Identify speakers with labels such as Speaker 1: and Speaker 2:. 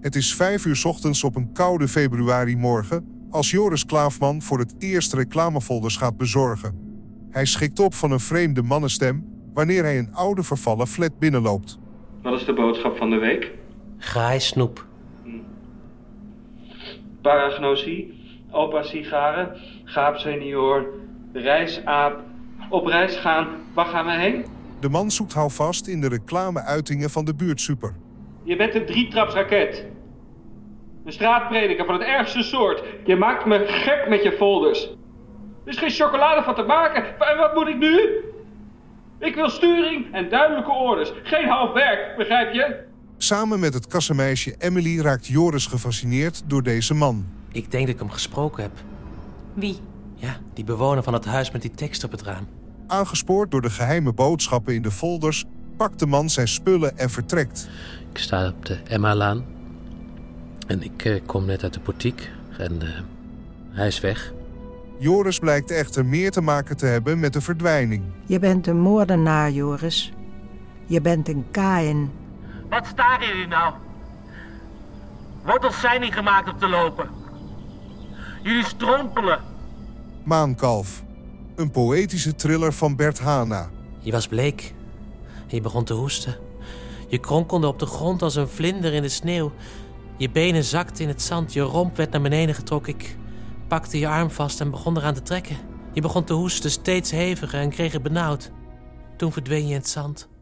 Speaker 1: Het is vijf uur 's ochtends op een koude februarimorgen als Joris Klaafman voor het eerst reclamefolders gaat bezorgen. Hij schikt op van een vreemde mannenstem wanneer hij een oude vervallen flat binnenloopt.
Speaker 2: Wat is de boodschap van de week?
Speaker 3: Graai snoep.
Speaker 2: Paragnosie, opa sigaren, gaap senior, reisaap, op reis gaan, waar gaan we heen?
Speaker 1: De man zoekt houvast in de reclameuitingen van de buurtsuper.
Speaker 2: Je bent een drietrapsraket. Een straatprediker van het ergste soort. Je maakt me gek met je folders. Er is geen chocolade van te maken. En wat moet ik nu? Ik wil sturing en duidelijke orders. Geen half werk, begrijp je?
Speaker 1: Samen met het kassenmeisje Emily raakt Joris gefascineerd door deze man.
Speaker 3: Ik denk dat ik hem gesproken heb.
Speaker 4: Wie?
Speaker 3: Ja, die bewoner van het huis met die tekst op het raam.
Speaker 1: Aangespoord door de geheime boodschappen in de folders, pakt de man zijn spullen en vertrekt.
Speaker 3: Ik sta op de Emma-laan. En ik eh, kom net uit de portiek. En eh, hij is weg.
Speaker 1: Joris blijkt echter meer te maken te hebben met de verdwijning.
Speaker 5: Je bent een moordenaar, Joris. Je bent een Kain.
Speaker 6: Wat staren jullie nou? Wortels zijn niet gemaakt om te lopen. Jullie strompelen.
Speaker 1: Maankalf. Een poëtische thriller van Bert Hana.
Speaker 3: Je was bleek. Je begon te hoesten. Je kronkelde op de grond als een vlinder in de sneeuw. Je benen zakten in het zand. Je romp werd naar beneden getrokken. Ik pakte je arm vast en begon eraan te trekken. Je begon te hoesten, steeds heviger en kreeg het benauwd. Toen verdween je in het zand.